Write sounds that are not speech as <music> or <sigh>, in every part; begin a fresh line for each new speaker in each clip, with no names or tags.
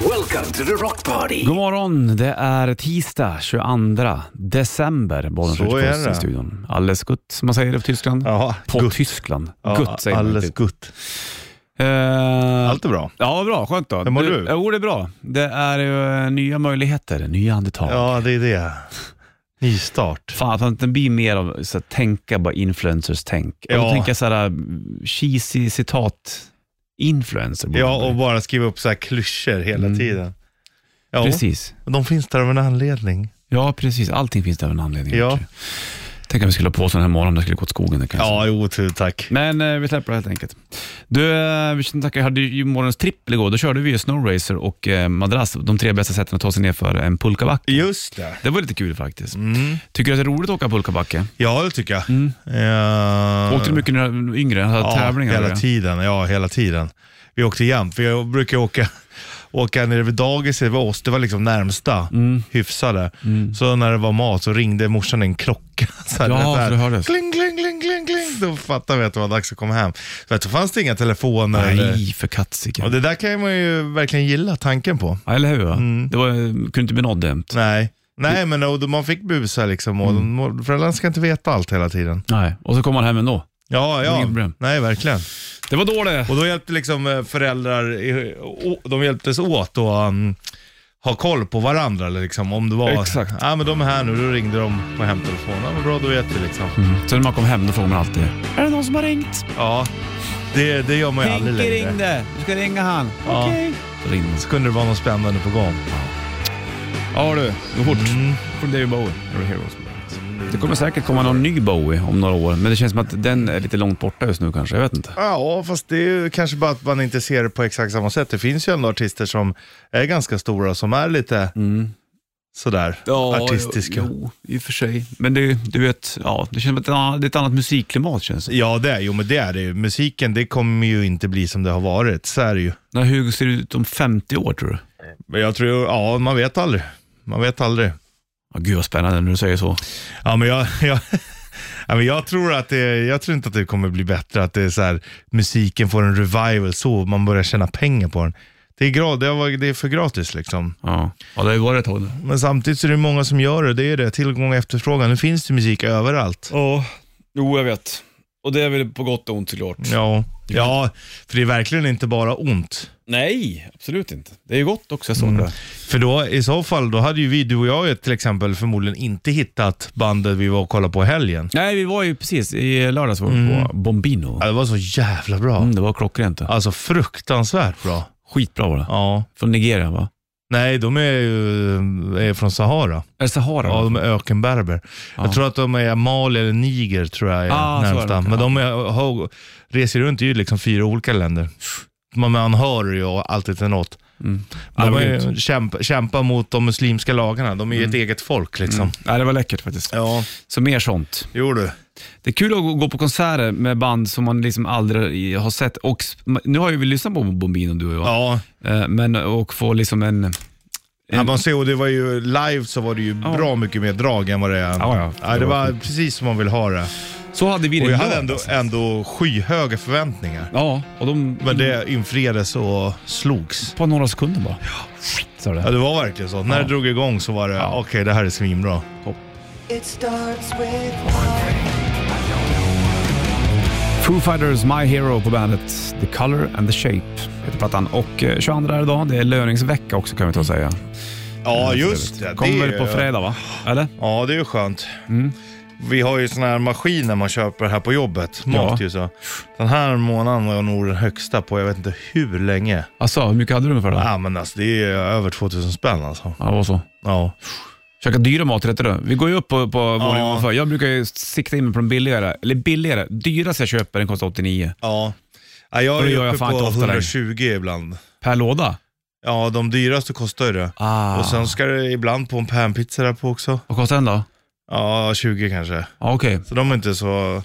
Welcome to the rock party.
God morgon, det är tisdag 22 december. Bollen
Så
skjuts
är
puss
det.
i studion. Alles gut, som man säger på Tyskland.
Ja,
På
gutt.
Tyskland.
Ja,
Gutt säger man.
Alldeles
typ.
gutt.
Eh,
Allt är bra.
Ja, bra. Skönt då.
Hur mår du?
Jo, det är bra. Det är ju eh, nya möjligheter, nya andetag.
Ja, det är det. Nystart.
Fan, att det blir mer av så att tänka bara influencers-tänk. Och Då
Ja.
tänker jag så här eh, cheesy citat influencer. borde man
Ja,
börja.
och bara skriva upp så här klyschor hela
Mm.
tiden. Ja,
Precis.
och de finns där av en anledning.
Ja, precis. Allting finns det av en anledning.
Ja.
verkligen. Tänk om vi skulle ha på oss den här morgonen om det skulle gå åt skogen. Det kan jag säga.
Ja, jo, tu, tack.
Men eh, vi släpper det helt enkelt. Du, eh, vi ska tacka. Jag hade ju morgonens trippel igår. Då körde vi ju Snowracer och eh, madrass, de tre bästa sätten att ta sig ner för en pulkabacke.
Just det.
Det var lite kul faktiskt.
Mm.
Tycker du att det är roligt att åka pulkabacke?
Ja, det tycker jag. Eh,
Mm. Åkte du mycket när du var yngre? Hade
ja,
tävlingar? och
Hela
det?
tiden. Ja, hela tiden. Vi åkte jämt. för Jag brukar åka, åka nere vid dagis, det var oss, det var liksom närmsta
Mm.
hyfsade. Så när det var mat så ringde morsan en klocka. <laughs> Så här,
Ja,
vet, så här,
så det hördes.
Kling, kling, kling, kling, kling. Då fattade vi att det var dags att komma hem. Så att, då fanns det inga telefoner. eller-
Nej, för katsike.
Och det där kan man ju verkligen gilla tanken på.
Ja, eller hur? va?
Mm.
Det var, eh, kunde inte bli nåddämt.
Nej. Nej, men och, man fick busa liksom och
Mm.
de, föräldrarna ska inte veta allt hela tiden.
Nej, och så kom man hem ändå.
Ja,
Det är
ja.
inget problem.
Nej, verkligen.
Det var då det.
Och då hjälpte liksom eh, föräldrar, eh, å- de hjälptes åt att um, ha koll på varandra eller liksom om det var...
Exakt.
Ja men de är här nu, då ringde de på hemtelefonen. Ja, men bra, då vet vi liksom.
Mm. Så när man kom hem då frågade man alltid, är det någon som har ringt?
Ja, det, det gör man ju aldrig längre.
Du ska ringa han.
Ja.
Okej. Så ringde man.
Så kunde det vara något spännande på gång.
Ja du, gå fort.
Mm.
Från David Bowie. You're a hero. Det kommer säkert komma någon ny Bowie om några år, men det känns som att den är lite långt borta just nu kanske. Jag vet inte.
Ja, fast det är ju kanske bara att man inte ser det på exakt samma sätt. Det finns ju ändå artister som är ganska stora, som är lite sådär artistiska.
Mm. Jo, i och för sig. Men det, du vet, ja, det känns som att det är ett annat- det är ett annat musikklimat känns det.
Ja, det är jo men det är det ju. Musiken, det kommer ju inte bli som det har varit. Så är det ju.
När Hugo ser ut om 50 år tror du?
Men jag tror, ja man vet aldrig. Man vet aldrig.
Ja, gud vad spännande när du säger så.
Ja men jag, <laughs> jag, ja, men jag tror att det, jag tror inte att det kommer bli bättre. Att det är så här, musiken får en revival så, man börjar tjäna pengar på den. Det är, gra- det har- det är för gratis liksom.
Ja, ja det har ju varit ett tag nu.
Men samtidigt så är det många som gör det. Det är det, tillgång och efterfrågan. Nu finns det musik överallt.
Ja, jo jag vet. Och det är väl på gott och ont såklart.
Ja. ja, för det är verkligen inte bara ont.
Nej, absolut inte. Det är ju gott också, jag såg det.
För då, i så fall, då hade ju vi, du och jag till exempel, förmodligen inte hittat bandet vi var och kollade på i helgen.
Nej, vi var ju precis, i lördags var vi på Bombino.
Ja, det var så jävla bra.
Mm, det var klockrent. det.
Alltså fruktansvärt bra.
Skitbra var det.
Ja.
Från Nigeria va?
Nej, de är ju är från Sahara.
Eller Sahara?
Ja, de är ökenberber.
Ja.
Jag tror att de är Mali eller Niger, tror jag är
Ah, så är
närmsta.
det.
Men de är, har, reser runt i liksom fyra olika länder. Man, man hör ju alltid något.
Mm. Ja,
De
det var
är,
grymt.
ju- kämpa, kämpa mot de muslimska lagarna. De är ju ett eget folk liksom.
Nej, det var läckert faktiskt.
Ja,
Så mer sånt.
jo du.
Det är kul att gå- gå på konserter med band som man liksom aldrig i- har sett. Och, sp- nu har ju vi lyssnat på Bombino du och jag,
Ja, Mm.
Eh, men och få liksom en...
ja man ser, och det var ju live så var det ju
Ja.
bra mycket mer drag än vad det är.
Ja, ja.
det var precis som man vill ha det.
Så hade vi det
Och jag
idag,
hade ändå,
alltså.
ändå skyhöga förväntningar.
Ja, och de...
Men det infriades och slogs.
På några sekunder bara. Så
Ja,
det.
det var verkligen så. När
Ja.
det drog igång så var det, okej det här är svinbra.
It starts with
Foo Fighters My Hero på bandet The Color and the Shape heter plattan. Och eh, 22 är idag, det är löningsvecka också kan vi ta och säga.
Ja, just det.
Kommer
det är-
på fredag va? Eller?
Ja, det är ju skönt.
Mm.
Vi har ju såna här maskiner man köper här på jobbet. Mat
Ja.
ju så. Den här månaden var jag nog den högsta på jag vet inte hur länge.
Alltså, hur mycket hade du ungefär då?
Ja, men alltså det är över 2000 spänn alltså.
Ja, det var så.
Ja.
Käka dyra maträtter då. Vi går ju upp på, på våningen
Ja.
ovanför. Jag brukar ju sikta in mig på de billigare. Eller billigare. Dyraste jag köper den kostar 89.
Ja. ja jag är
Det
ju
gör jag
uppe
fan inte
på
ofta längre.
120 ibland.
Per låda.
Ja, de dyraste kostar ju det.
Ah.
Och sen ska det ibland på en panpizza där på också.
Vad kostar den då?
Ja, 20 kanske.
Ja, Okej.
Så de är inte så...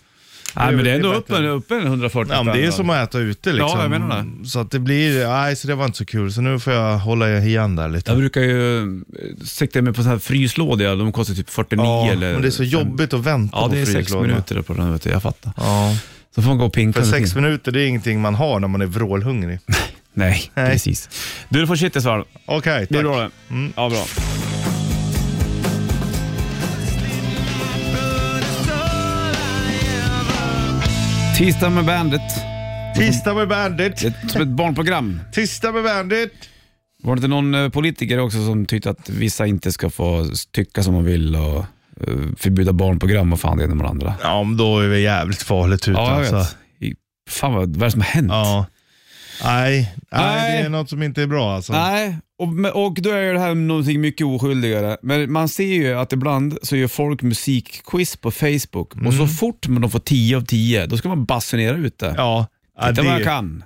Nej, men det är ändå
det är
uppe en, upp en 140
Ja, men
spänn
det
då.
är som att äta ute liksom.
Ja, jag menar det.
Så att det blir, nej så det var inte så kul. Så nu får jag hålla igen där lite.
Jag brukor ju eh, sikta in mig på sådana här fryslådor. De kostar typ 49
ja,
eller...
men det är så
fem-
jobbigt att vänta
Ja,
på
det är sex
fryslådan.
minuter på den, vet du. Jag fattar.
Ja,
Så får man gå och pinka.
för
under
sex
tiden. <laughs>
minuter det är ingenting man har när man är vrålhungrig.
Nej,
Nej.
precis. Du, du får shit i svar.
Okej,
Det är
tack.
bra det. Ja, bra. Tisdag med bandet.
Tisdag med Bandit.
Ett, som ett barnprogram.
Tisdag med Bandit.
Var det inte någon eh, politiker också som tyckte att vissa inte ska få tycka som de vill och eh, förbjuda barnprogram och fan det ena med det andra?
Ja, men då är vi jävligt farligt ute
Ja, jag
alltså.
vet. I- Fan vad, vad är det som har hänt?
Ja. Nej, nej,
Nej.
det är något som inte är bra alltså.
Nej, och, men- och då är ju det här någonting mycket oskyldigare. Men man ser ju att ibland så gör folk musikquiz på Facebook och så fort man de får 10 av 10, då ska man basunera ut det.
Mm. Ja, ja
Titta vad jag
det,
kan.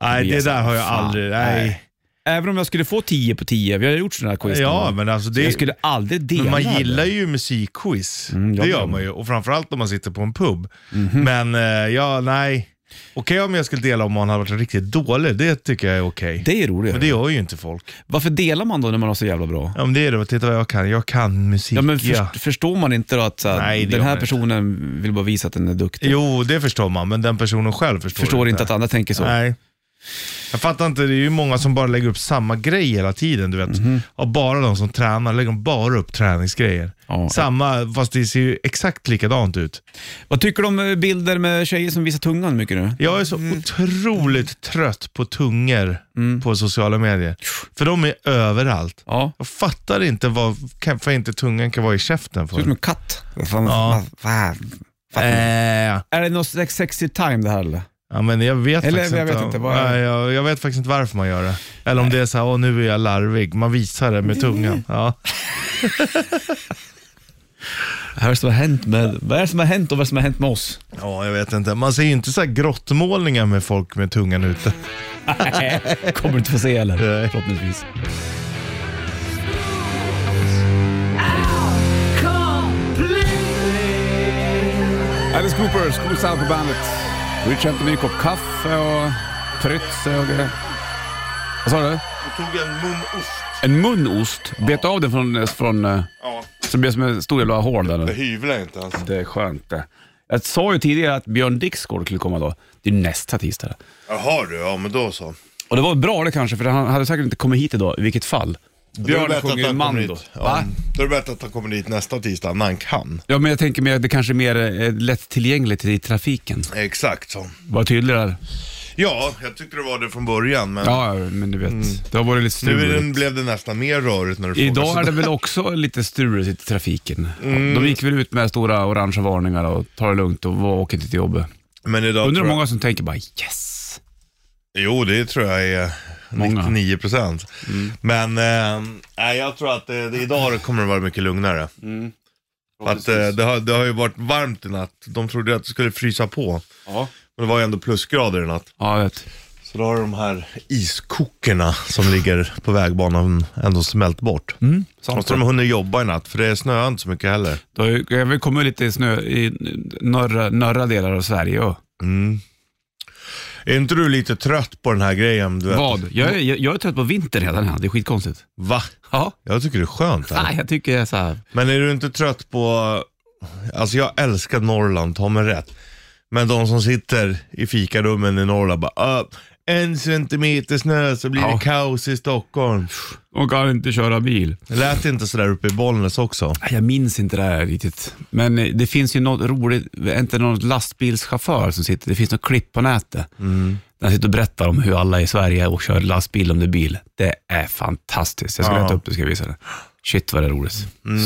nej, det där har jag
Fan,
aldrig. Nej.
Även om jag skulle få 10 på 10, vi har gjort sådana här quiz någon
Ja,
gång.
men alltså
Så jag
det,
skulle aldrig dela
men man
det.
gillar ju musikquiz.
Mm, jag
det
gör Mhm.
gör
det.
man ju. Och framförallt om man sitter på en pub. Men eh, ja, nej. Okej om jag skulle dela om man hade varit riktigt dålig. Det tycker jag är okej.
Det är roligt.
Men det gör ju inte folk.
Varför delar man då när man har så jävla bra?
Ja, men det är det. Titta vad jag kan. Jag kan musik.
Ja, men först,
ja.
Förstår man inte då att så, här,
Nej, det
den
gör
här
man
personen vill bara visa att den är duktig?
Jo, det förstår man. Men den personen själv förstår,
förstår inte att andra tänker så.
Nej. Jag fattar inte, det är ju många som bara lägger upp samma grej hela tiden. Du vet.
Mhm.
Och bara de som tränar lägger de bara upp träningsgrejer.
Ja.
Samma, fast det ser ju exakt likadant ut.
Vad tycker du om eh, bilder med tjejer som visar tungan mycket nu?
Jag är så
Mm.
otroligt trött på tungor på sociala medier. För de är överallt.
Ja.
Jag fattar inte vad, varför inte tungan kan vara i käften.
Ser ut
För.
som en katt.
Ja. Äh.
Är det någon slags sexy time det här eller?
Ja, men jag vet
Eller,
faktiskt
jag vet
om-
inte, vad är-
Nej, jag, jag vet faktiskt inte varför man gör det. Eller om det är så här, åh nu är jag larvig. Man
<laughs>
visar det med tungan. Ja.
Vad är det som har hänt med, vad är det som har hänt och vad är det som har hänt med <laughs> oss?
ja, jag vet inte. Man ser ju inte så här grottmålningar med folk med tungan ute.
Kommer du inte få se heller,
Nej.
förhoppningsvis. Alice Cooper, Schools Out på bandet. Vi köpte en ny kopp kaffe och prytse och grejer. Vad sa du?
Jag tog en munost.
En munost. Bet av den från... från eh,
Ja,
som blev som en stor jävla hål där. nu.
hyvlar inte alltså. ens.
Det är skönt det. Jag sa ju tidigare att Björn Dixgård skulle komma då. Det är nästa tisdag.
Jaha du, ja men då så.
Och det var bra det kanske, för han hade säkert inte kommit hit idag i vilket fall. Björn sjunger ju Mando. Va?
Då är det bättre att han kommer dit nästa tisdag när han kan.
Ja, men jag tänker mer att det kanske är mer eh, lättillgängligt i trafiken.
Exakt så.
Var tydlig där.
Ja, jag tyckte det var det från början men
Ja, ja, men du vet.
Mm.
Det har varit lite struligt.
blev det nästan mer rörigt när du
Idag är det väl också lite struligt i trafiken.
Mm.
De gick väl ut med stora orangea varningar och ta det lugnt och åk inte till jobbet.
Men idag
Undrar
tror
hur
jag-
många som tänker bara yes.
Jo, det tror jag är
Många. Mm.
99 procent. Men eh, nej, jag tror att eh, det, idag kommer det vara mycket lugnare.
Mm.
För att, eh, det, har, det har ju varit varmt i natt. De trodde att det skulle frysa på.
Ja,
Men det var ju ändå plusgrader i natt.
ja jag vet.
Så då har de här iskokerna som ligger på vägbanan ändå smält bort. Mm. Och så har de hunnit jobba i natt, för det snöar inte så mycket heller.
Det har ju det har väl kommit lite snö i norra, norra delar av Sverige. Ja.
Mm. Är inte du lite trött på den här grejen? Du vet?
Vad? Jag är, jag, jag är trött på vinter redan här. Det är skitkonstigt.
Va?
Ja.
Jag tycker det är skönt. Här.
Nej, jag tycker jag är så här.
Men är du inte trött på, alltså jag älskar Norrland, ta mig rätt. Men de som sitter i fikarummen i Norrland bara, "Upp, en centimeter snö så blir
Ja.
det kaos i Stockholm.
De kan inte köra bil.
Det lät inte sådär uppe i Bollnäs också.
Nej, Jag minns inte det här riktigt. Men eh, det finns ju något roligt, är inte någon lastbilschaufför som sitter, det finns något klipp på nätet. Där han sitter och berättar om hur alla i Sverige och kör lastbil om det är bil. Det är fantastiskt. Jag ska
Ja.
leta upp det och ska visa det. Shit vad det är roligt.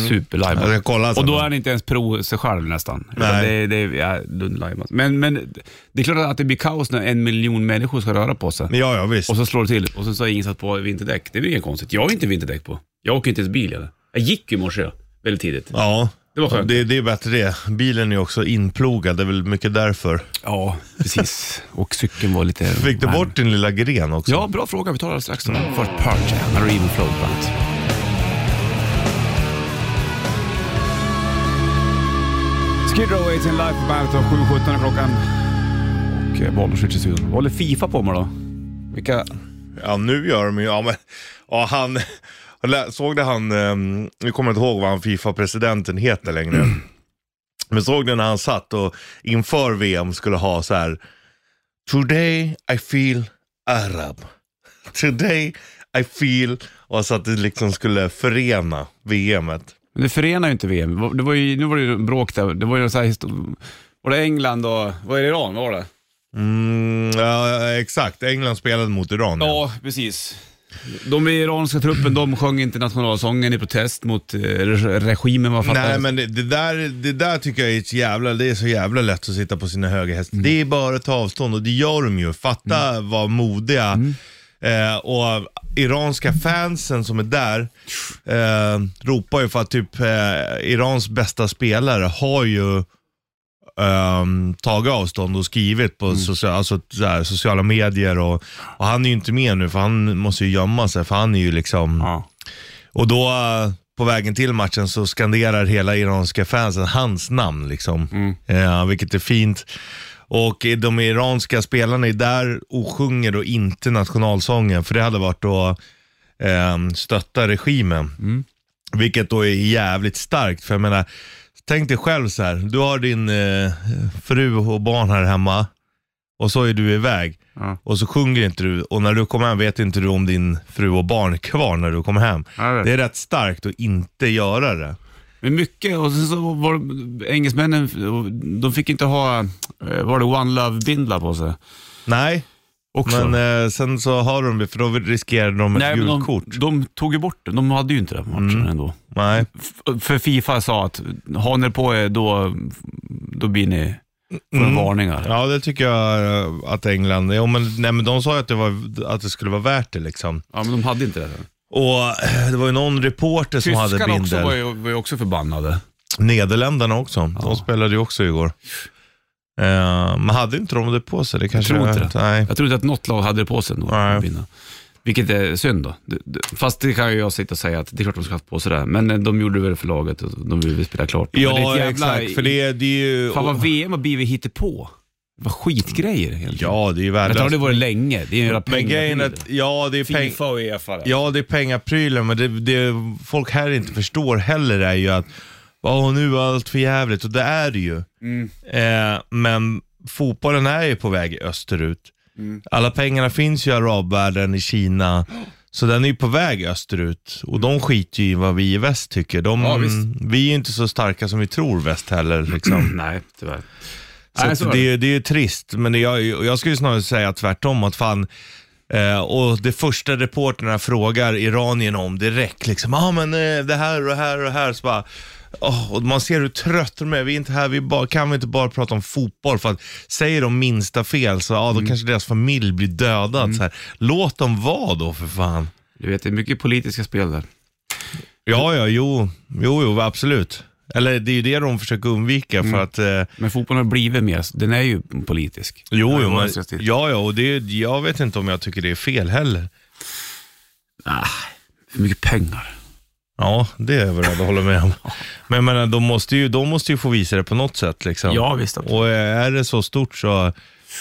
Superlive.
Jag ska kolla sen.
Och då är han inte ens pro sig själv nästan. Utan
Nej.
Det, det är ja, lundlajmat. Men, men det är klart att det blir kaos när en miljon människor ska röra på sig.
Men ja, ja visst.
Och så slår det till och så har ingen satt på vinterdäck. Det är väl inget konstigt. Jag har inte vinterdäck på. Jag åker inte ens bil. Eller? Jag gick ju i morse väldigt tidigt.
Ja,
Det var skönt.
det, det är bättre det. Bilen är också inplogad, det är väl mycket därför.
Ja, precis. Och cykeln var lite...
Fick du bort din lilla gren också?
Ja, bra fråga. Vi tar alldeles strax. Då. Först Purge, han har Even Flow Band. Skid Row 18 Life på bandet och 7.17 klockan. Och eh, Bollnäs skjuts i studion. Vad håller Fifa på med då? Vilka...
Ja, nu gör de ju, ja men, ja han, jag lä- såg det han, eh, nu kommer jag inte ihåg vad han Fifa-presidenten heter längre. Men såg det när han satt och inför VM skulle ha så här, Today I feel Arab. Today I feel. Och så att det liksom skulle förena VMet.
Men det förenar ju inte VM. Det var ju, nu var det ju bråk där. Det var ju så här, histo- var det England och, var det Iran? Vad var det?
Mm, ja, exakt. England spelade mot Iran. ja.
Ja, precis. De i iranska truppen, de sjöng inte nationalsången i protest mot eh, re- regimen, vad fattar
Nej
jag.
men det, det, där, det där tycker jag är ett jävla, det är så jävla lätt att sitta på sina höga
Mm.
hästar. Det är bara att ta avstånd och det gör de ju. Fatta vad modiga.
Mm.
Eh, och iranska fansen som är där eh, ropar ju för att typ eh, Irans bästa spelare har ju ehm, tagit avstånd och skrivit på
Mm.
socia- alltså, så här, sociala medier. Och, och han är ju inte med nu för han måste ju gömma sig för han är ju liksom
Ja.
och då eh, på vägen till matchen så skanderar hela iranska fansen hans namn liksom. Ja, vilket är fint. Och eh, de iranska spelarna är där och sjunger då inte nationalsången för det hade varit att eh, stötta regimen. Vilket då är jävligt starkt för jag menar, tänk dig själv så här. Du har din eh, fru och barn här hemma och så är du iväg.
Ja.
Och så sjunger inte du och när du kommer hem vet inte du om din fru och barn är kvar när du kommer hem.
Jag vet.
Det är rätt starkt att inte göra det.
Men mycket, och sen så var det, engelsmännen, de fick inte ha, eh, var det One Love-bindlar på sig?
Nej,
Också.
men eh, sen så har de det för då riskerar de ett
Nej, men
gult
de,
kort.
de tog ju bort det. De hade ju inte den matchen
Mm.
ändå.
Nej.
F- För Fifa sa att har ni på er då, då blir ni, får
Mm.
varningar.
Ja, det tycker jag eh, att England, jo, men, nej, men de sa ju att det, var, att det skulle vara värt det liksom.
Ja, men de hade inte det.
Och eh, det var ju någon reporter som hade
Tyskarna också
bindel.
var ju, var ju också förbannade.
Nederländerna också. De spelade ju också igår. Eh, men hade inte de det på sig? Det kanske
tror inte det.
Nej.
Jag tror inte att något lag hade det på sig ändå.
Nej.
att vinna. Vilket är synd då. Det- det- Fast det kan ju jag sitta och säga att det är klart de ska ha haft på sig det. Men eh, de gjorde väl för laget och de ville spela klart. Men det är
Ja,
ett jävla-
exakt. För det, det är ju...
Fan vad VM har blivit hittepå. Vad skitgrejer egentligen.
Ja, det är ju
Jag tror det
värdelöst.
varit länge. Det är ju en jävla
Men grejen är
pengabil.
att, E ja det är peng...
och Uefa. Ja.
Ja, det är pengaprylen, men det, det folk här inte förstår heller är ju att åh, nu är allt för jävligt och det är det ju.
Mm.
Eh, men fotbollen är ju på väg österut.
Mm.
Alla pengarna finns ju i arabvärlden, i Kina, så den är ju på väg österut. Och de skiter ju i vad vi i väst tycker. De,
Ja, visst.
vi är ju inte så starka som vi tror väst heller. Liksom.
Nej, tyvärr.
Så
Nej,
att
så är
det, är- det är ju trist, men det, jag, jag skulle ju snarare säga tvärtom. Att fan, eh, och det första reporterna frågar iranierna om direkt, liksom, ah, men eh, det här och här och här. Så bara, åh, och man ser hur trött de är. Vi är inte här, vi bara, kan vi inte bara prata om fotboll? För att säger de minsta fel så ah, då
Mm.
kanske deras familj blir dödad. Så här. Låt dem vara då för fan.
Du vet, det är mycket politiska spel där.
Ja, ja, jo, jo, jo absolut. Eller det är ju det de försöker undvika
Mm.
för att eh,
Men fotbollen har blivit mer, den är ju politisk.
Jo, jo men,
men...
ja, ja, och det, jag vet inte om jag tycker det är fel heller.
Hur mycket pengar?
Ja, det är jag beredd att hålla med
<laughs>
om. Men jag menar, de måste, ju, de måste ju få visa det på något sätt. Liksom.
Ja, visst.
Och är det så stort så,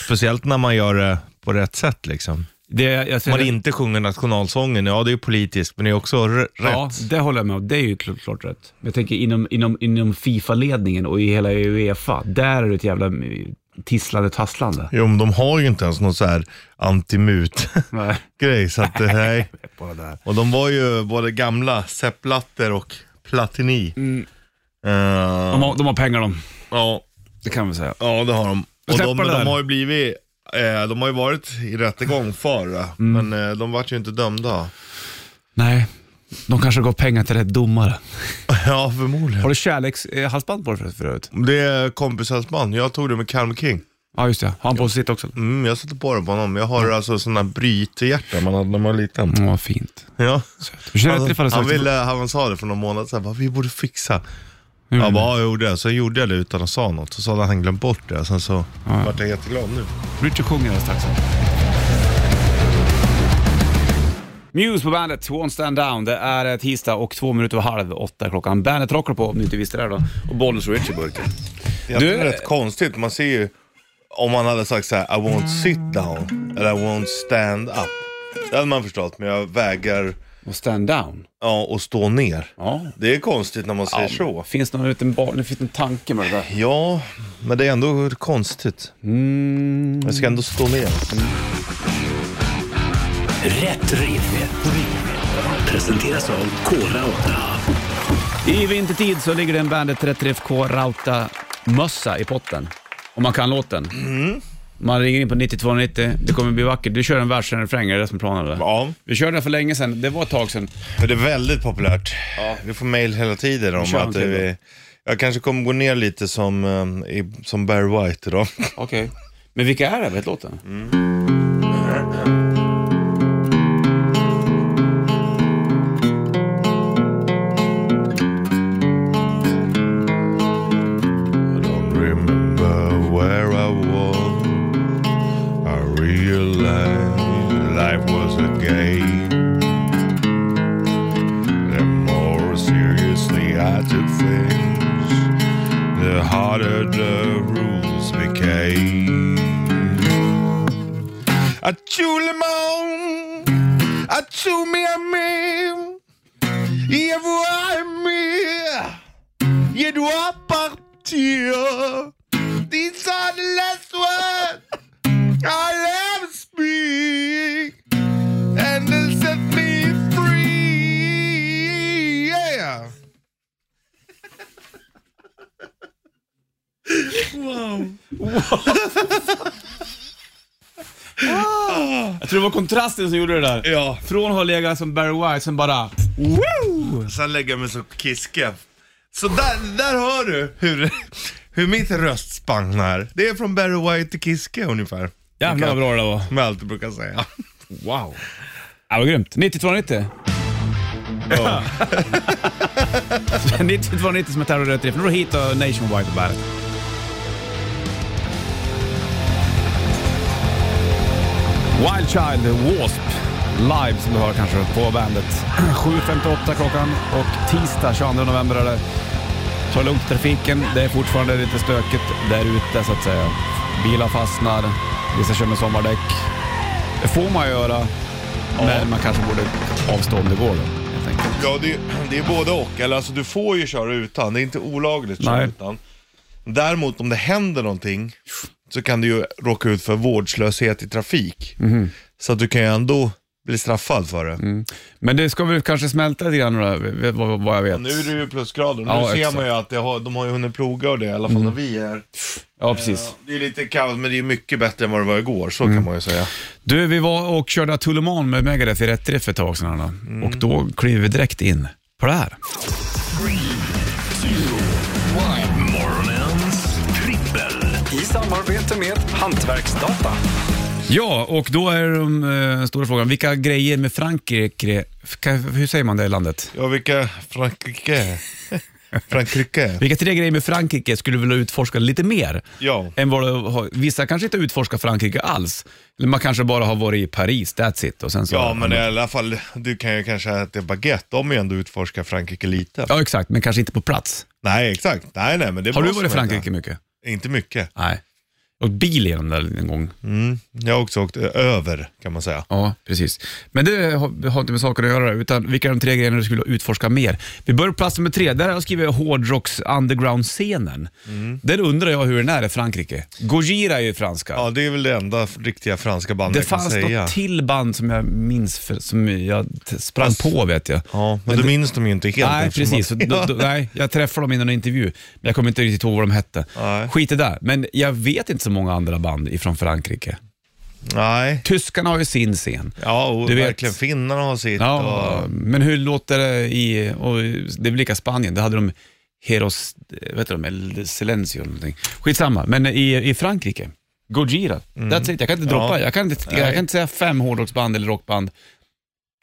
speciellt när man gör det på rätt sätt. Liksom.
Det, alltså, jag
Om
säger,
man inte sjunger nationalsången, ja det är ju politiskt, men det är också r-
ja,
rätt.
det håller jag med om. Det är ju klart, klart rätt. Men jag tänker inom, inom, inom Fifa-ledningen och i hela Uefa, där är det ett jävla eh, tisslande tasslande.
Jo, men de har ju inte ens någon så här <laughs> antimut-grej.
<laughs> Nej.
Så att, eh, nej. Och de var ju både gamla, Sepp Blatter och Platini.
Mm.
Eh,
De, har, de har pengar de,
ja.
det kan vi säga.
Ja, det har de. Och
släpper
de, men
det
de
där.
har ju blivit, eh, de har ju varit i rättegång för det, men eh, de vart ju inte dömda.
Nej, de kanske gav pengar till rätt domare.
ja, förmodligen.
Har du kärlekshalsband på dig för- förut?
Det är kompishalsband, jag tog det med Calm King.
Ja, just det. Har han på sig sitt också?
Mm, jag satte på det på honom. Jag har alltså sådana brytehjärtan man hade när man var liten.
Ja, vad fint.
Ja.
Du känner inte
Han,
ifall det
han,
sökte-
ville, han sa det för någon månad sedan, bara, vi borde fixa.
Hur
Jag
menar
bara, ja, jag gjorde det. Så gjorde jag det utan att säga något. Så sa han att han glömt bort det. Sen så vart jag jätteglad nu.
Richard sjunger alldeles strax. Muse på bandet, Won't Stand Down. Det är eh, tisdag och två minuter över halv åtta är klockan. Bandet rockar på om ni inte visste det här då. Och Bollnäs och Richie i burken.
Det är
Du-
rätt konstigt. Man ser ju om man hade sagt så här: I won't sit down eller I won't stand up. Det hade man förstått, men jag vägrar
Och Stand Down.
ja, att stå ner.
Ja.
Det är konstigt när man säger så.
Finns det någon liten bar, det finns en tanke med det där.
Ja,
Mm.
men det är ändå konstigt. Jag ska ändå stå ner.
Rätt riff. Presenteras av Kora 8.
I vintertid så ligger det en Bandet 33FK Rauta mössa i potten. Om man kan låten. Man ringer in på 9290. Det kommer bli vackert. Du kör en vers och en refräng, är det det som är planen eller?
Ja.
Vi körde den för länge sedan. Det var ett tag sedan.
För det är väldigt populärt. Vi får mail hela tiden om
kör
att
en till
vi, jag kanske kommer gå ner lite som, eh, i, som Barry White idag.
Okej. Men vilka är det? Vet låten?
I don't remember where I was. I realized life was a game. The more seriously I took things, the harder the rules became. I chew them on, I chew me a meme. If I'm here, je dois partir. These are the last words I'll ever speak. And they set me free. Yeah. <laughs>
Jag tror det var kontrasten som gjorde det där.
Ja.
Från att ha legat som Barry White, sen bara...
Sen lägger jag mig så kiske. Så där, där hör du hur, hur mitt röstspann är. Det är från Barry White till Kiske ungefär.
Jävlar vad bra det där var.
Som jag alltid brukar säga.
Wow. Ja, vad grymt. 9290. <laughs>
Ja.
9290 som är Terror Rött Riff. Nu går det hit och Nationwide på bandet. Wild Child, W.A.S.P. Live som du hör kanske på bandet. <clears throat> 7.58 klockan och tisdag 22 november är det. Ta det lugnt i trafiken. Det är fortfarande lite stökigt där ute så att säga. Bilar fastnar, vissa kör med sommardäck. Det får man göra, men man kanske borde avstå om det går då, helt enkelt.
Ja, det, det är både och. Eller alltså, du får ju köra utan. Det är inte olagligt att köra
Nej.
utan. Däremot om det händer någonting så kan du ju råka ut för vårdslöshet i trafik.
Mhm.
Så att du kan ju ändå bli straffad för det.
Mm. Men det ska väl kanske smälta lite grann då, v- vad, vad jag vet.
Nu är det ju plusgrader. Nu
Ja,
ser
exakt. Mm.
man ju att det har, de har ju hunnit ploga och det i alla fall när vi är här.
Ja, precis.
Det är lite kaos, men det är mycket bättre än vad det var igår. Så
Mm.
kan man ju säga.
Du, vi var och körde Tulleman med Megadeth i rätt riff för ett tag sedan Anna.
Mm.
och då klev vi direkt in på det här.
Morgonens trippel.
I samarbete med Hantverksdata.
Ja, och då är den eh, stora frågan, vilka grejer med Frankrike, kan, hur säger man det i landet?
Ja, vilka...
<laughs>
Frankrike. Frankrike.
Vilka tre grejer med Frankrike skulle du vilja utforska lite mer?
Ja.
Än vad du har, vissa kanske inte utforskar Frankrike alls. Eller man kanske bara har varit i Paris, that's it. Och sen så,
Ja, men i alla fall, du kan ju kanske äta baguette. De har ju ändå utforskat Frankrike lite.
ja, exakt, men kanske inte på plats.
Nej, exakt. Nej, nej, men det
Har du
måste
varit i
man
Frankrike
Inte.
mycket?
inte mycket.
Nej. Och bil genom där en gång.
Mm. Jag har också åkt över, kan man säga.
Ja, precis. Men det har, har inte med saker att göra, utan vilka är de tre grejerna du skulle utforska mer? Vi börjar på plats nummer tre. Där har jag skrivit hårdrocks underground-scenen.
Mm.
Där undrar jag hur den är i Frankrike. Gojira är ju franska.
Ja, det är väl det enda riktiga franska bandet
det
jag kan
fanns
säga.
något till band som jag minns, för, som jag t- sprang på vet jag.
Alltså, Ja, men, du minns dem ju inte helt.
Nej,
eftersom
precis.
att-
Så Då, då,
<laughs>
nej, jag träffade dem innan en intervju, men jag kommer inte riktigt ihåg vad de hette.
Nej.
Skit i det. Men jag vet inte så många andra band ifrån Frankrike.
Nej,
Tyskarna har ju sin scen.
ja, och
Du vet.
verkligen finnarna har sitt.
Ja,
Och...
men hur låter det i, och det är väl lika Spanien, där hade de Heros, vet du de, El Silencio eller någonting. Skitsamma, men i, i Frankrike, Gojira, that's it. Jag kan inte droppa,
Ja.
jag, kan inte, jag kan inte säga fem hårdrocksband eller rockband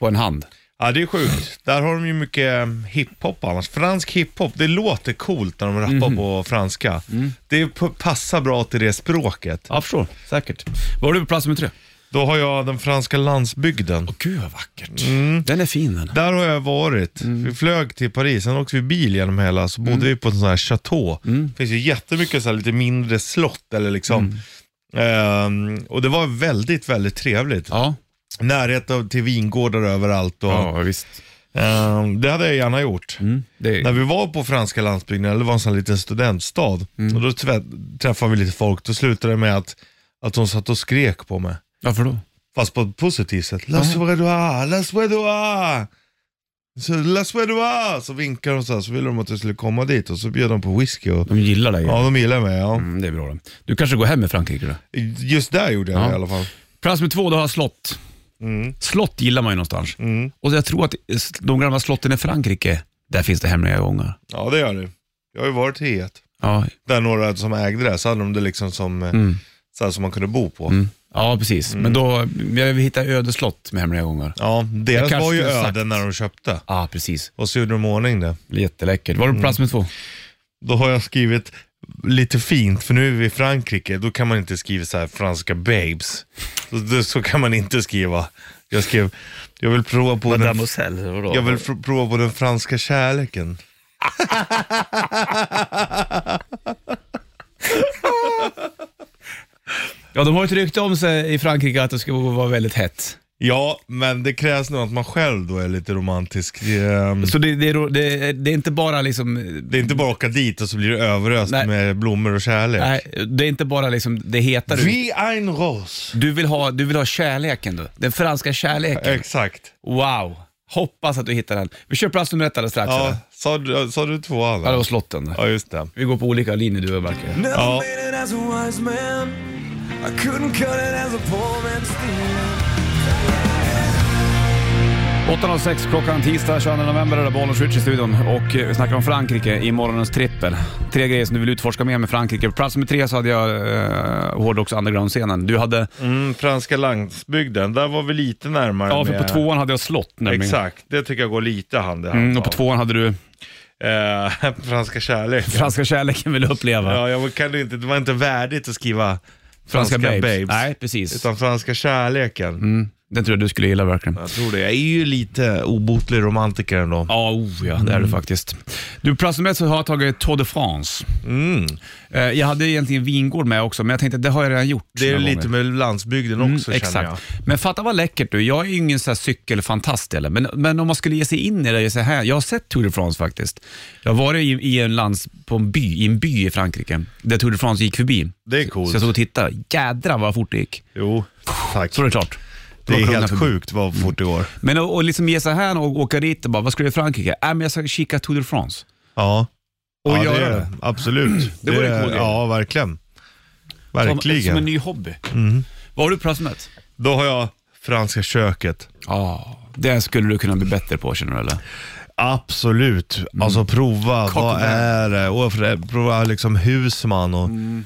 på en hand.
Ja, det är sjukt. Där har de ju mycket eh, hiphop annars. Fransk hiphop, det låter coolt när de rappar
Mhm.
på franska. Det p- passar bra till det språket.
Mm. Ja, förstår. Säkert. Vad har du på plats nummer tre?
Då har jag den franska landsbygden.
Gud vad vackert. Mm. Den är fin den.
Där har jag varit.
Mm.
Vi flög till Paris, sen åkte vi bil genom hela, så bodde vi på en sån här chateau.
Mm.
Det finns ju jättemycket så här lite mindre slott eller liksom. Ehm, och det var väldigt, väldigt trevligt.
Ja,
Närhet av, till vingårdar överallt. Och,
visst.
ehm, det hade jag gärna gjort.
Mm. Det
När
är,
vi var på franska landsbygden, eller det var en sån här liten studentstad,
Mm.
och då tvä- träffade vi lite folk. Då slutade det med att, att de satt och skrek på mig.
varför då?
Fast på ett positivt sätt. La suédois, la suédois. Så la suédois. Så vinkar de så här, så ville de att jag skulle komma dit och så bjöd de på whisky och
De gillar dig.
Ja, de gillar mig. Ja.
Mm, det är bra. då. Du kanske går hem med Frankrike då?
Just där gjorde jag
Mm. Ja.
det i alla fall. Mm,
Plats nummer två, då har jag slott. Slott gillar man ju någonstans. Och jag tror att de gamla slotten i Frankrike, där finns det hemliga gångar.
Ja, det gör du. Jag har ju varit i ett.
Ja,
Där några som ägde det, så hade de det liksom som, eh,
Mm.
så här, som man kunde bo på.
ja precis. Men då, jag vill hitta ödeslott med hemliga gångar.
Ja,
Jag
deras
kanske
var ju
skulle ha
öden
sagt-
när de köpte.
Ja, precis.
Och så gjorde de i ordning det.
Jätteläckert. Var du på plats nummer två?
Då har jag skrivit lite fint, för nu är vi i Frankrike. Då kan man inte skriva så här franska babes. Så, det, så kan man inte skriva. Jag skrev, jag vill prova på, den,
Mademoiselle, vadå?
jag vill fr- prova på den franska kärleken.
Ja, de har ju ett rykte om sig i Frankrike att det ska vara väldigt hett.
Ja, men det krävs nog att man själv då är lite romantisk. Det, ehm,
Så det, det, är, det, det är inte bara liksom...
det är inte bara att åka dit och så blir du överöst
Nej.
med blommor och kärlek.
Nej, det är inte bara liksom det heta du...
Vi ein Rose.
Du vill, ha, du vill ha kärleken du. Den franska kärleken.
Exakt.
Wow. Hoppas att du hittar den. Vi kör plats nummer ett alldeles strax. eller?
Ja, sa, du- sa du tvåan?
Ja, det
eller?
var slotten.
Ja, just det.
Vi går på olika linjer du och Barker.
Never
Ja.
made it as a wise man I couldn't cut it as a poor man's steel
8.06 klockan tisdag 22 november är det Bollnäs Rich i studion och eh, vi snackar om Frankrike i morgonens trippel. Tre grejer som du vill utforska mer med Frankrike. På plats nummer tre så hade jag eh, hårdrocks underground-scenen. Du hade,
Mm, franska landsbygden, där var vi lite närmare
ja för
med...
på tvåan hade jag slott nämligen.
Exakt, det tycker jag går lite hand i hand.
Mm, och på
av.
tvåan hade du
Eh, <laughs> franska kärlek.
franska kärleken vill uppleva.
Ja, jag kan ju inte, det var inte värdigt att skriva
franska,
franska, babes.
Nej, precis.
Utan franska kärleken.
Mm, den tror jag du skulle gilla verkligen.
Jag tror det. Jag är ju lite obotlig romantiker ändå.
Ja, oh, ja,
Mm.
det är du faktiskt. Du, på plats nummer ett så har jag tagit Tour de France.
Mm.
Eh, jag hade egentligen vingård med också, men jag tänkte att det har jag redan gjort.
Det är
några gånger.
lite med landsbygden
Mm,
också känner jag.
exakt. Men fatta vad läckert du. Jag är ju ingen så här cykelfantast heller, men, men om man skulle ge sig in i det så här. Jag har sett Tour de France faktiskt. Jag var i, i en lands, på en by, i en by i Frankrike där Tour de France gick förbi.
Det är
Så
coolt.
jag stod och tittade. Jädrar vad fort det gick.
Jo, tack.
Så är det klart.
Det är
var kungarna
helt
förbi.
sjukt vad fort det går.
Men att och liksom ge sig här och åka dit och bara, vad ska du göra i Frankrike? Äh, men jag ska kika Tour de France.
Ja.
Och
ja,
göra
är
det.
Absolut.
<clears throat> Det vore en cool grej.
Ja, verkligen.
Som, som en
Verkligen. Mm.
ny hobby. Vad har du på plats med?
Då har jag franska köket.
Ja, det skulle du kunna bli bättre på känner du eller?
Absolut. Alltså prova,
Mm. Coq au
vad
vin.
är det? Och för- prova liksom husman och... Mm.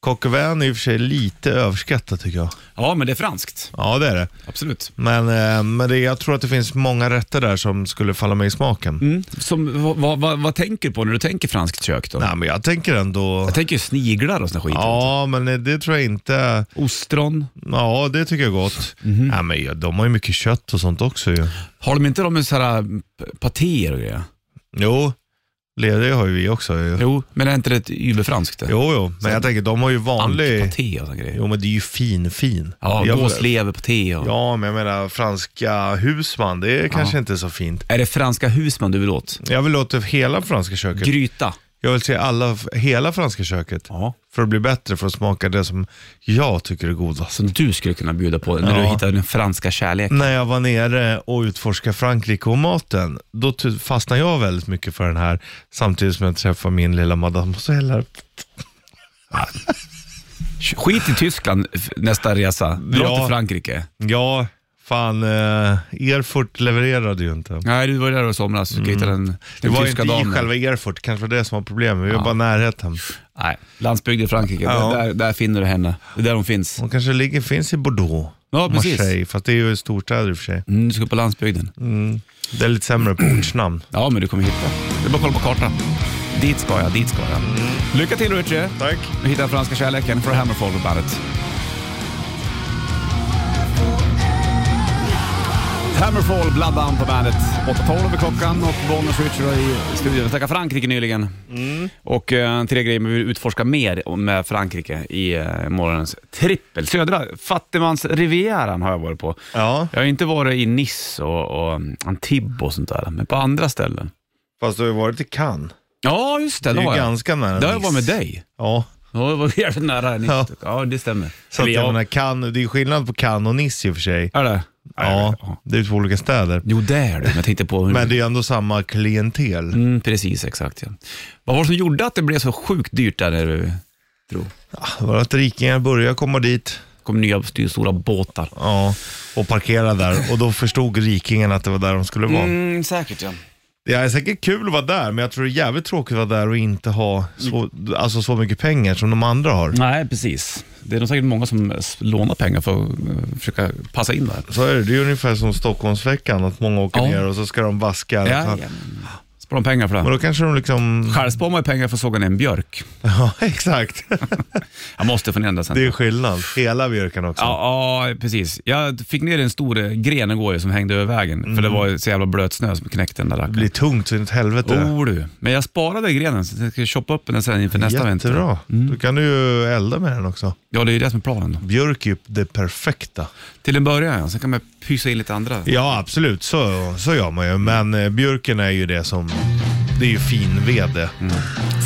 Coq au vin är i och för sig lite överskattat tycker jag.
Ja, men det är franskt.
Ja, det är det.
Absolut.
Men, eh, men det, jag tror att det finns många rätter där som skulle falla mig i smaken.
Mm. Som, vad, vad, vad, vad tänker du på när du tänker franskt kök då?
Nej, men jag tänker ändå...
Jag tänker ju sniglar och sån skit.
Ja, men eh, det tror jag inte...
Ostron.
Ja, det tycker jag är gott.
Mhm.
Nej, men ja, de har ju mycket kött och sånt också ju.
Har de inte de med så här p- patéer och grejer?
Jo, leder har ju vi också ju.
Jo, men är inte det ett überfranskt? det?
Jo, jo. Men jag tänker, de har ju vanlig...
Antipaté och sån grejer.
Jo, men det är ju fin, fin.
Ja,
Jag-
gåsleverpaté och...
Ja, men jag menar franska husman, det är kanske inte så fint.
Är det franska husman du vill åt?
Jag vill åt hela franska köket.
Gryta.
Jag vill se alla, hela franska köket.
Ja.
För att bli bättre, för att smaka det som jag tycker är godast.
Som du skulle kunna bjuda på när du
Ja.
hittar den franska kärleken.
När jag var nere och utforskade Frankrike och maten, då ty- fastnade jag väldigt mycket för den här, samtidigt som jag träffade min lilla mademoiselle. här.
Skit i Tyskland f- nästa resa. Dra
Ja.
till Frankrike.
Ja, fan, eh, Erfurt levererade ju inte.
Nej, du var ju där i somras. Du hittade den, den
Mm. Det var
tyska
inte i
damen.
själva Erfurt, kanske var det som var problemet. Vi var bara närheten.
Nej, landsbygd i Frankrike.
Ja.
Där, där finner du henne. Det är där hon finns.
Hon kanske ligger, finns i Bordeaux.
Ja, precis.
Marseille, fast det är ju storstäder i och för sig.
Mm, du ska på landsbygden.
Det är lite sämre på ortsnamn.
Ja, men du kommer hitta. Det är bara att kolla på kartan. Dit ska jag, dit ska jag. Lycka till Richie.
Tack.
Nu hittar jag franska kärleken för Hammerfall på bandet. Hammerfall, Blood Down på bandet. 8.12 över klockan och Bonus Richard i studion. Vi snackade Frankrike nyligen. Och eh, tre grejer vi vill utforska mer om, med Frankrike i eh, morgonens trippel. Södra fattigmansrivieran har jag varit på.
Ja,
Jag har inte varit i Nice och, och Antibes och sånt där, men på andra ställen.
fast du har ju varit i Cannes.
Ja, just det.
Det
Det,
är ju
har jag.
ganska nära
Det har jag
Nice.
varit med dig.
Ja,
Ja, det var jävligt nära. Nice.
Ja.
Ja. det stämmer.
Så att
Eller
jag
ja.
menar, Cannes- det är skillnad på Cannes och Nice i och för sig.
Är det?
Ja, det är två olika städer.
Jo, det är det. Men jag tänkte på...
Men det är ändå samma klientel.
mm, precis, exakt. Ja. Vad var det som gjorde att det blev så sjukt dyrt där nere? du tror?
Det var att rikingar började komma dit
kom nya styr- stora båtar.
ja, och parkera där och då förstod rikingarna att det var där de skulle vara.
Mm, säkert ja.
Det är säkert kul att vara där, men jag tror det är jävligt tråkigt att vara där och inte ha så, alltså så mycket pengar som de andra har.
Nej, precis. Det är nog säkert många som s- lånar pengar för att eh, försöka passa in där.
Så är det, det är ungefär som Stockholmsveckan, att många åker
Ja.
ner och så ska de vaska.
Ja, ja. Sparar de pengar för
Men
det.
då kanske de liksom... <laughs>
Själv sparar man ju pengar för att såga ner en björk.
Ja, exakt.
Jag måste få ner den där sen.
Det är skillnad. Hela björken också.
Ja, ja, precis. Jag fick ner en stor eh, gren igår ju som hängde över vägen. För
Mm.
det var ju så jävla blöt snö som knäckte den där
Det
rackaren.
blir tungt så in i helvete.
Oh, du. Men jag sparade grenen så jag ska shoppa upp den sen inför nästa vinter.
Jättebra. Då kan du ju elda med den också.
Ja, det är ju det som är planen. Då.
Björk är ju det perfekta.
Till en början ja. Sen kan man pysa in lite andra.
Ja, absolut. Så, så gör man ju. Men eh, björken är ju det som... Det är ju fin vede.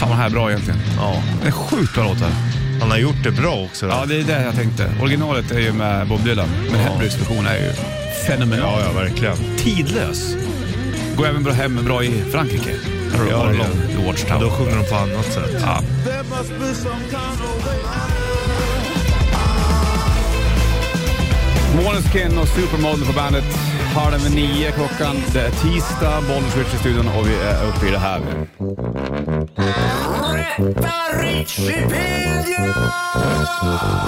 Fan vad det här är bra egentligen.
Ja.
Mm. Det är sjukt bra låtar.
Han har gjort det bra också. då.
Ja, det är det jag tänkte. Originalet är ju med Bob Dylan, men Hendrys version är ju fenomenal.
ja, ja, verkligen.
Tidlös. Går även bra hem bra i Frankrike. Här har du
Ja,
Orlon,
ja.
The
Då
Watchtower.
sjunger de på annat sätt.
Ja. Måneskin och Supermodel på bandet. Halv nio klockan. Det är tisdag, Bollnäs Rich i studion och vi är uppe i det här.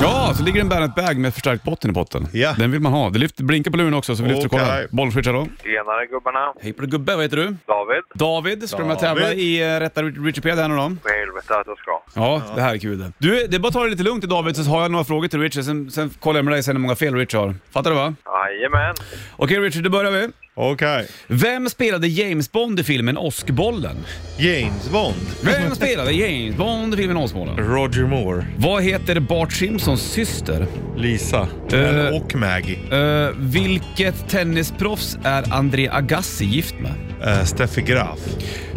Ja, så ligger en Bandet bag med förstärkt botten i botten.
Ja.
Den vill man ha. Det lyfter, blinkar på luren också så vi lyfter och kollar.
Okej.
Bollnäs Rich, hallå.
Tjenare gubbarna.
Hej på dig gubbe, vad heter du?
David.
David, ska du med och tävla i eh, Rätta Richard här nu då?
För helvete att jag ska.
Ja, det här är kul det. Du, det är bara att ta det lite lugnt idag David, så har jag några frågor till Richard. Sen, sen kollar jag med dig sen hur många fel Richard har. Fattar du va?
Jajamän.
Okej Richard, då börjar vi.
Okej.
Vem spelade James Bond i filmen Åskbollen?
James Bond.
Vem spelade James Bond i filmen Åskbollen?
Roger Moore.
Vad heter Bart Simpsons syster?
Lisa.
Eh.
Och Maggie.
Eh, vilket tennisproffs är André Agassi gift med?
Eh, Steffi Graf.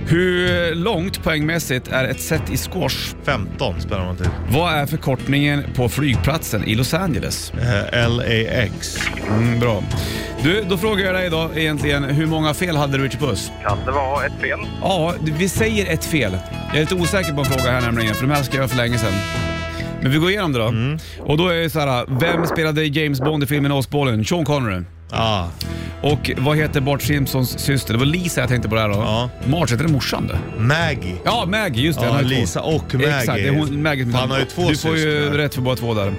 Hur långt poängmässigt är ett set i squash?
15 spänner man till.
Vad är förkortningen på flygplatsen i Los Angeles?
Eh, LAX.
Mm, bra. Du, då frågar jag dig då egentligen, hur många fel hade du i Puss?
Kan det vara ett fel?
Ja, vi säger ett fel. Jag är lite osäker på en fråga här nämligen, för de här skrev jag för länge sedan. Men vi går igenom det då. Och då är det så här, vem spelade James Bond i filmen Åskbollen? Sean Connery.
Ah,
Och vad heter Bart Simpsons syster? Det var Lisa jag tänkte på där då.
Ja.
Marge, heter det morsan det?
Maggie.
Ja, Maggie, just det.
Ja,
han har ju två.
Lisa och Maggie.
Exakt, det är hon, Maggie som
Han har ju två
Du får ju
systrar.
rätt för båda två där.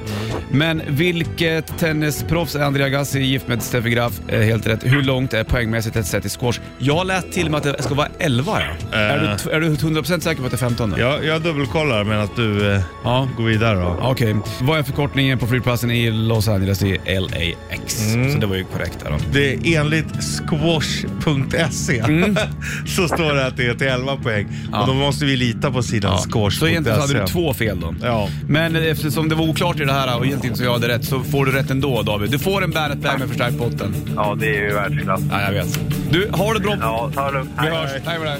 Men vilket tennisproffs är Andrea Gassi gift med Steffi Graf? Eh, Helt rätt. Hur långt är poängmässigt ett set i squash? Jag lät till och med att det ska vara 11. Ja. Är, du,
Eh.
t- är du 100% säker på att det är 15? nu?
Jag, jag dubbelkollar medan att du eh,
Ja.
går vidare då.
Okej. Vad är förkortningen på flygplatsen i Los Angeles? Det är LAX.
Mm.
Så det var ju korrekt där då.
Det är enligt squash.se
Mm.
<laughs> så står det att det är till 11 poäng. Och då måste vi lita på sidan squash.se.
Så egentligen så hade du två fel då.
Ja.
Men eftersom det var oklart i det här och egentligen så jag hade rätt så får du rätt ändå David. Du får en Bandet Bag med förstärkt botten.
Ja, det är ju världsklass.
Ja, jag vet. Du, har det bra.
Ja, ta det lugnt.
Vi hörs. Hej med dig.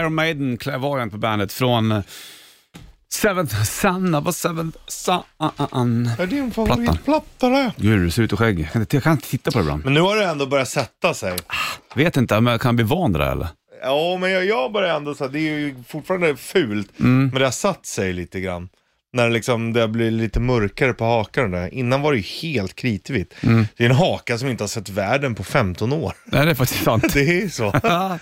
Iron Maiden, Clairvoyant på bandet från Seventh Sun. Vad Seventh Sun?
Är din
favoritplatta
det?
Gud, du ser ut och skägg. Jag kan inte- Jag kan inte titta på det ibland.
Men nu har det ändå börjat sätta sig.
Vet inte om jag kan bli van vid det där, eller?
Ja, men jag, jag börjar ändå så här, det är ju fortfarande fult,
Mm.
men det har satt sig lite grann. När det liksom, det blir lite mörkare på hakan och där. Innan var det ju helt kritvitt.
Mm.
Det är en haka som inte har sett världen på 15 år. <laughs>
Nej, det är faktiskt sant.
Det är ju så.
Ja.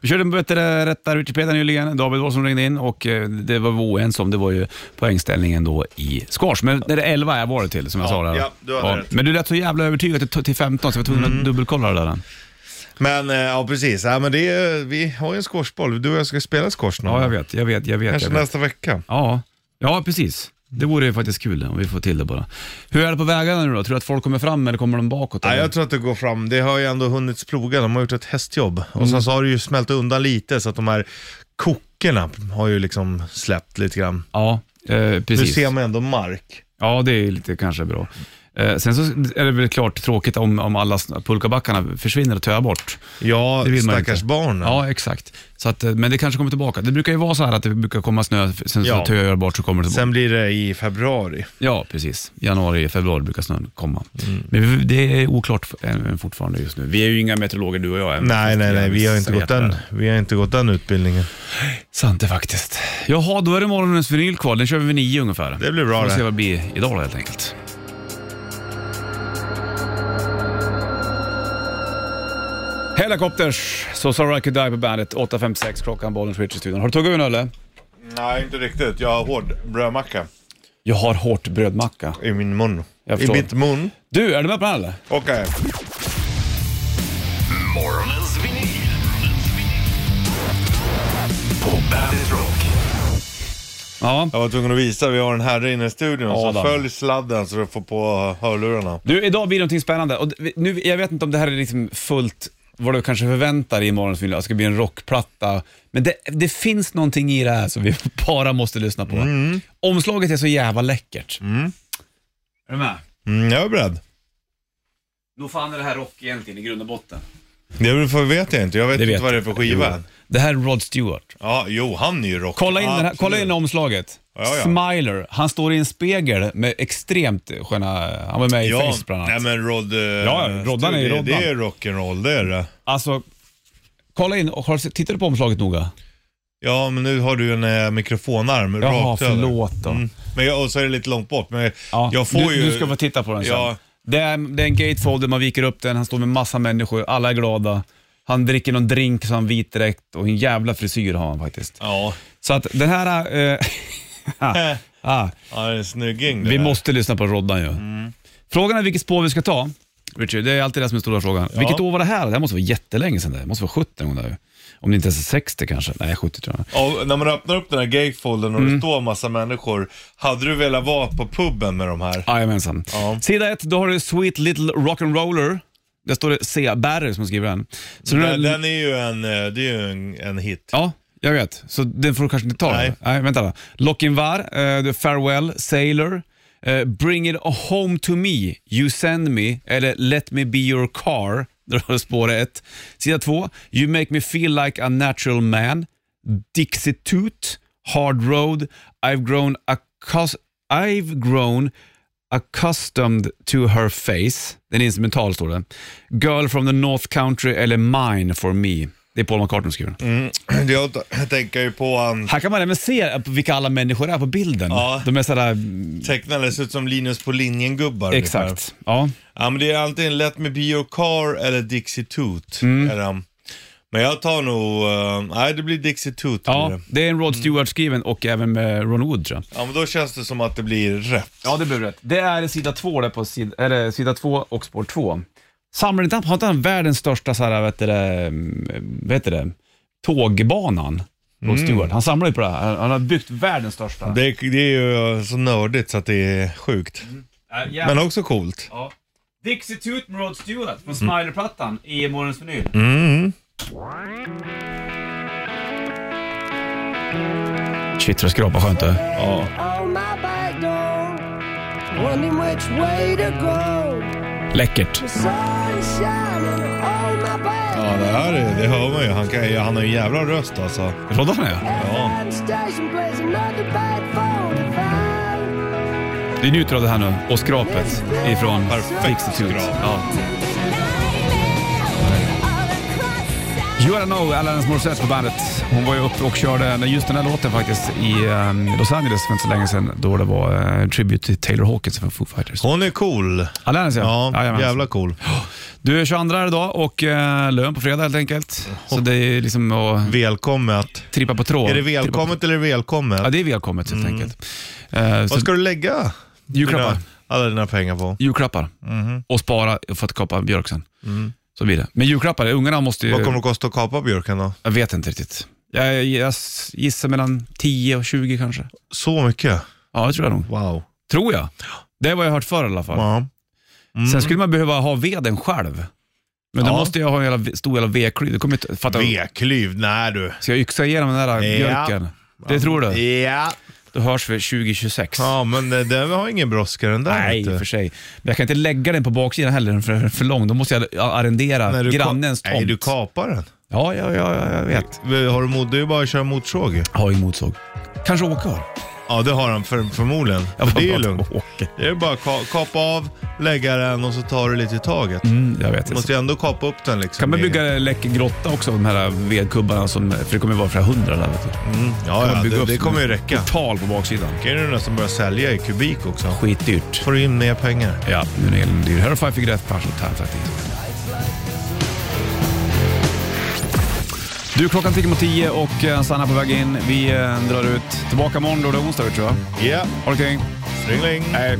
Vi körde en bättre rätta Wikipedia nyligen. David var som ringde in och eh, det var vi oense om. Det var ju poängställningen då i squash. Men det är 11 jag var det till, som jag
Ja,
sa där.
ja, du hade rätt. Mm.
Men du lät så jävla övertygad till- till 15 så jag var tvungen att dubbelkolla det där.
Men eh, ja, precis. Ja, men det är, vi har ju en squashboll. Du och jag ska spela squash nu.
Ja, jag vet, jag vet, jag vet.
Kanske
Jag vet.
nästa vecka.
Ja. ja, precis. Det vore ju faktiskt kul om vi får till det bara. Hur är det på vägarna nu då? Tror du att folk kommer fram eller kommer de bakåt?
Ja,
eller?
jag tror att det går fram. Det har ju ändå hunnit ploga. De har gjort ett hästjobb. Och
Mm.
sen så har det ju smält undan lite så att de här kokorna har ju liksom släppt lite grann.
ja eh,
Nu
precis.
ser man ändå mark.
Ja, det är lite kanske bra. Eh, sen så är det väl klart tråkigt om, om alla sn- pulkabackarna försvinner och töar bort.
Ja,
Det vill man
stackars
inte.
barnen.
Ja, exakt. Så att, eh, men det kanske kommer tillbaka. Det brukar ju vara så här att det brukar komma snö, sen så
Ja.
töar det bort så kommer det tillbaka.
Sen blir det i februari.
Ja, precis. Januari, februari brukar snön komma.
Mm.
Men vi- det är oklart f- än- fortfarande just nu. Vi är ju inga meteorologer du och jag. även
Nej,
fast
nej, nej. Vi har
vissa
inte gått
vet det
den,
här.
vi har inte gått den utbildningen.
Sant det faktiskt. Jaha, då är det morgonens vinyl kvar. Den kör vi vid nio ungefär.
Det blir bra
Får se
det.
vad det blir idag då, helt enkelt. Helicopters, So Sorry I Could Die på bandet. 8.56 klockan, bollen switch i studion. Har du tuggat ur en öl?
Nej, inte riktigt. Jag har hård brödmacka
Jag har hårt brödmacka.
i min mun.
Jag
I
förstår.
mitt mun.
Du, är du med på den här, eller?
Okej.
Morgonens vinyl. På Bandit Rock.
Ja.
Jag var tvungen att visa. Vi har en herre inne i studion som
Adam.
följer sladden så du får på hörlurarna.
Du, idag blir det någonting spännande. Och d- nu, jag vet inte om det här är liksom fullt vad du kanske förväntar dig i morgons film. Det ska bli en rockplatta. Men det, det finns någonting i det här som vi <laughs> bara måste lyssna på.
Mm.
Omslaget är så jävla läckert. Är du med?
Mm, jag är beredd.
Nog fan är det här rock egentligen i grund och botten.
Det för- vet jag inte. Jag vet, inte vad det är för skiva.
Det här är Rod Stewart.
Ja, jo, han är ju rock.
Kolla in, den här,
Absolut.
kolla in omslaget.
Ja, ja.
Smiler. Han står i en spegel med extremt sköna... Han var med i
Ja,
Face bland annat.
nej men Rod... eh,
ja, Roddan är ju
det-
Roddan.
Det är rock'n'roll, det är det.
Alltså, kolla in. och har du- Tittar du på omslaget noga?
Ja, men nu har du en eh, mikrofonarm
Jaha,
rakt över. Mm.
förlåt då.
Men jag, och så är det lite långt bort, men
Ja,
jag får
du,
ju...
du ska få titta på den sen.
Ja.
Det, är, det är en gatefolder, man viker upp den, han står med massa människor, alla är glada. Han dricker någon drink så han vit direkt och en jävla frisyr har han faktiskt.
Ja,
Så att den här... Eh, <laughs> ah, ah,
ja det är en snygging det
vi
där.
måste lyssna på Roddan ju.
Mm.
Frågan är vilket spår vi ska ta. Richard, det är alltid det som är stora frågan. Vilket år var det här? Det här måste vara jättelänge sedan. Det här måste vara 70 någon gång där. ju. Om det inte ens är 60 kanske. Nej, 70 tror jag.
Ja, när man öppnar upp den här gatefolden och
Mm.
det står massa människor, hade du velat vara på puben med de här?
Jajamensan.
Ja.
Sida 1, då har du Sweet Little Rock'n'Roller. Där står det C. Barry som skriver den. Så
Den,
den-
den är ju en, eh, det är ju en, en hit. <clears throat>
Ja, jag vet. Så den får du kanske inte ta?
Nej.
Nej vänta då. Lockin' Var, eh, The Farewell, Sailor, eh, Bring It Home To Me, You Send Me eller Let Me Be Your Car. <laughs> Där har du spår ett. Sida två, You Make Me Feel Like A Natural Man, Dixitute, Hard Road, I've Grown Accus- I've grown Accustomed to her face. Den är instrumental står det. Girl from the North Country eller Mine for me. Det är Paul McCartney som skriver den.
Jag t- tänker ju på han
Här kan man även se vilka alla människor är på bilden.
Ja.
De är sådär...
tecknades ut som Linus på linjen-gubbar. ungefär.
Exakt. Ja.
Ja, men det är antingen Let Me Be Your Car eller Dixie Toot.
Mm.
Är det. Men jag tar nog, eh, nej det blir Dixie Toot. blir
ja,
det. Mm.
det är en Rod Stewart-skriven och även med Ron Wood tror jag.
ja, men då känns det som att det blir rätt.
Ja, det blir rätt. Det är sida två, där på sid, eller sida två och spår två. Samlar inte han, har inte han världens största så här, vet du det, mm, vad heter det, tågbanan? Rod Stewart. Han samlar ju på det här. Han- Han har byggt världens största.
Mm. Det, är- det är ju eh, så nördigt så att det är sjukt.
Äh, jävla-
Men också coolt.
Ja. Dixie Toot med Rod Stewart från Smiler-plattan i morgonens vinyl.
Mm.
Shit vad skrapa skönt det
Ja.
On my back door, wondering which way to go.
Läckert.
The sun shining on my back.
Ja, det här är, det hör man ju. Han, kan, ju- han har ju en jävla röst alltså.
Rodde han det?
Ja.
And station plays another bad phone.
Vi njuter av det här nu och skrapet ifrån
Perfekt
Dixie Toot.
skrap.
Ja. Joanna Know, Alanis Morissette på bandet. Hon var ju uppe och körde just den här låten faktiskt i eh, Los Angeles för inte så länge sedan då det var eh, tribute till Taylor Hawkins från Foo Fighters.
Hon är cool.
Alanis
Ja,
Jajamän.
jävla cool.
Du är 22 är idag och eh, lön på fredag helt enkelt. Så det är liksom att
Välkommet.
trippa på tråd.
Är det
Trippa på-
välkommet eller är det välkommet?
Ja, det är välkommet helt enkelt. Eh, så
Vad ska du lägga
julklappar.
dina, alla dina pengar på?
Julklappar.
Mhm.
Och spara för att kapa björk sen. Så blir det. Men julklappar, ungarna måste ju...
Mm. Vad kommer det kosta att kapa björken då?
Jag vet inte riktigt. Jag, jag s- gissar mellan 10 och 20 kanske.
Så mycket?
Ja, det tror jag nog.
Wow.
Tror jag. Det är vad jag har hört förr i alla fall.
Ja.
Sen skulle man behöva ha veden själv. Men då
Mm. Ja.
måste jag ha en jävla, stor jävla vedklyv. Du kommer inte fatta.
Veklyv, nej du.
Ska jag yxa igenom den där
Ja.
björken? Det tror du?
Ja.
Då hörs vi 2026.
Ja, men det, det har ingen brådska den där.
Nej,
vet du.
för sig. Men jag kan inte lägga den på baksidan heller, den är för, för lång. Då måste jag arrendera
När du ka-
grannens tomt.
Nej, du kapar den.
ja, ja, ja, ja, jag vet.
Har du mod, det är ju bara att köra motorsåg ju.
Jag har ingen motorsåg. Kanske åka har.
Ja, det har han för, förmodligen.
Jag
det är ju
bara-
lugnt.
åker.
Det är bara att ka- kapa av, lägga den och så tar du lite i taget.
Mm, jag vet.
Du måste ju ändå kapa upp den liksom.
Kan man
Det är-
bygga läcker grotta också av de här vedkubbarna? Som, för det kommer ju vara flera hundra där. Vet du.
Ja,
man
ja
bygga
det,
upp
det
som
kommer ju
en
räcka.
Portal på baksidan.
Kan du nästan börja sälja i kubik också.
Skitdyrt.
Får du in mer pengar.
Ja, nu är det elen dyr. Här har Five Finger Death Punch och Time Flat Easy. Du, klockan tickar mot tio och eh, Sanna är på väg in. Vi eh, drar ut. Tillbaka imorgon då, det är onsdag tror jag.
Ja,
Ha det kring.
ringling.
Hej.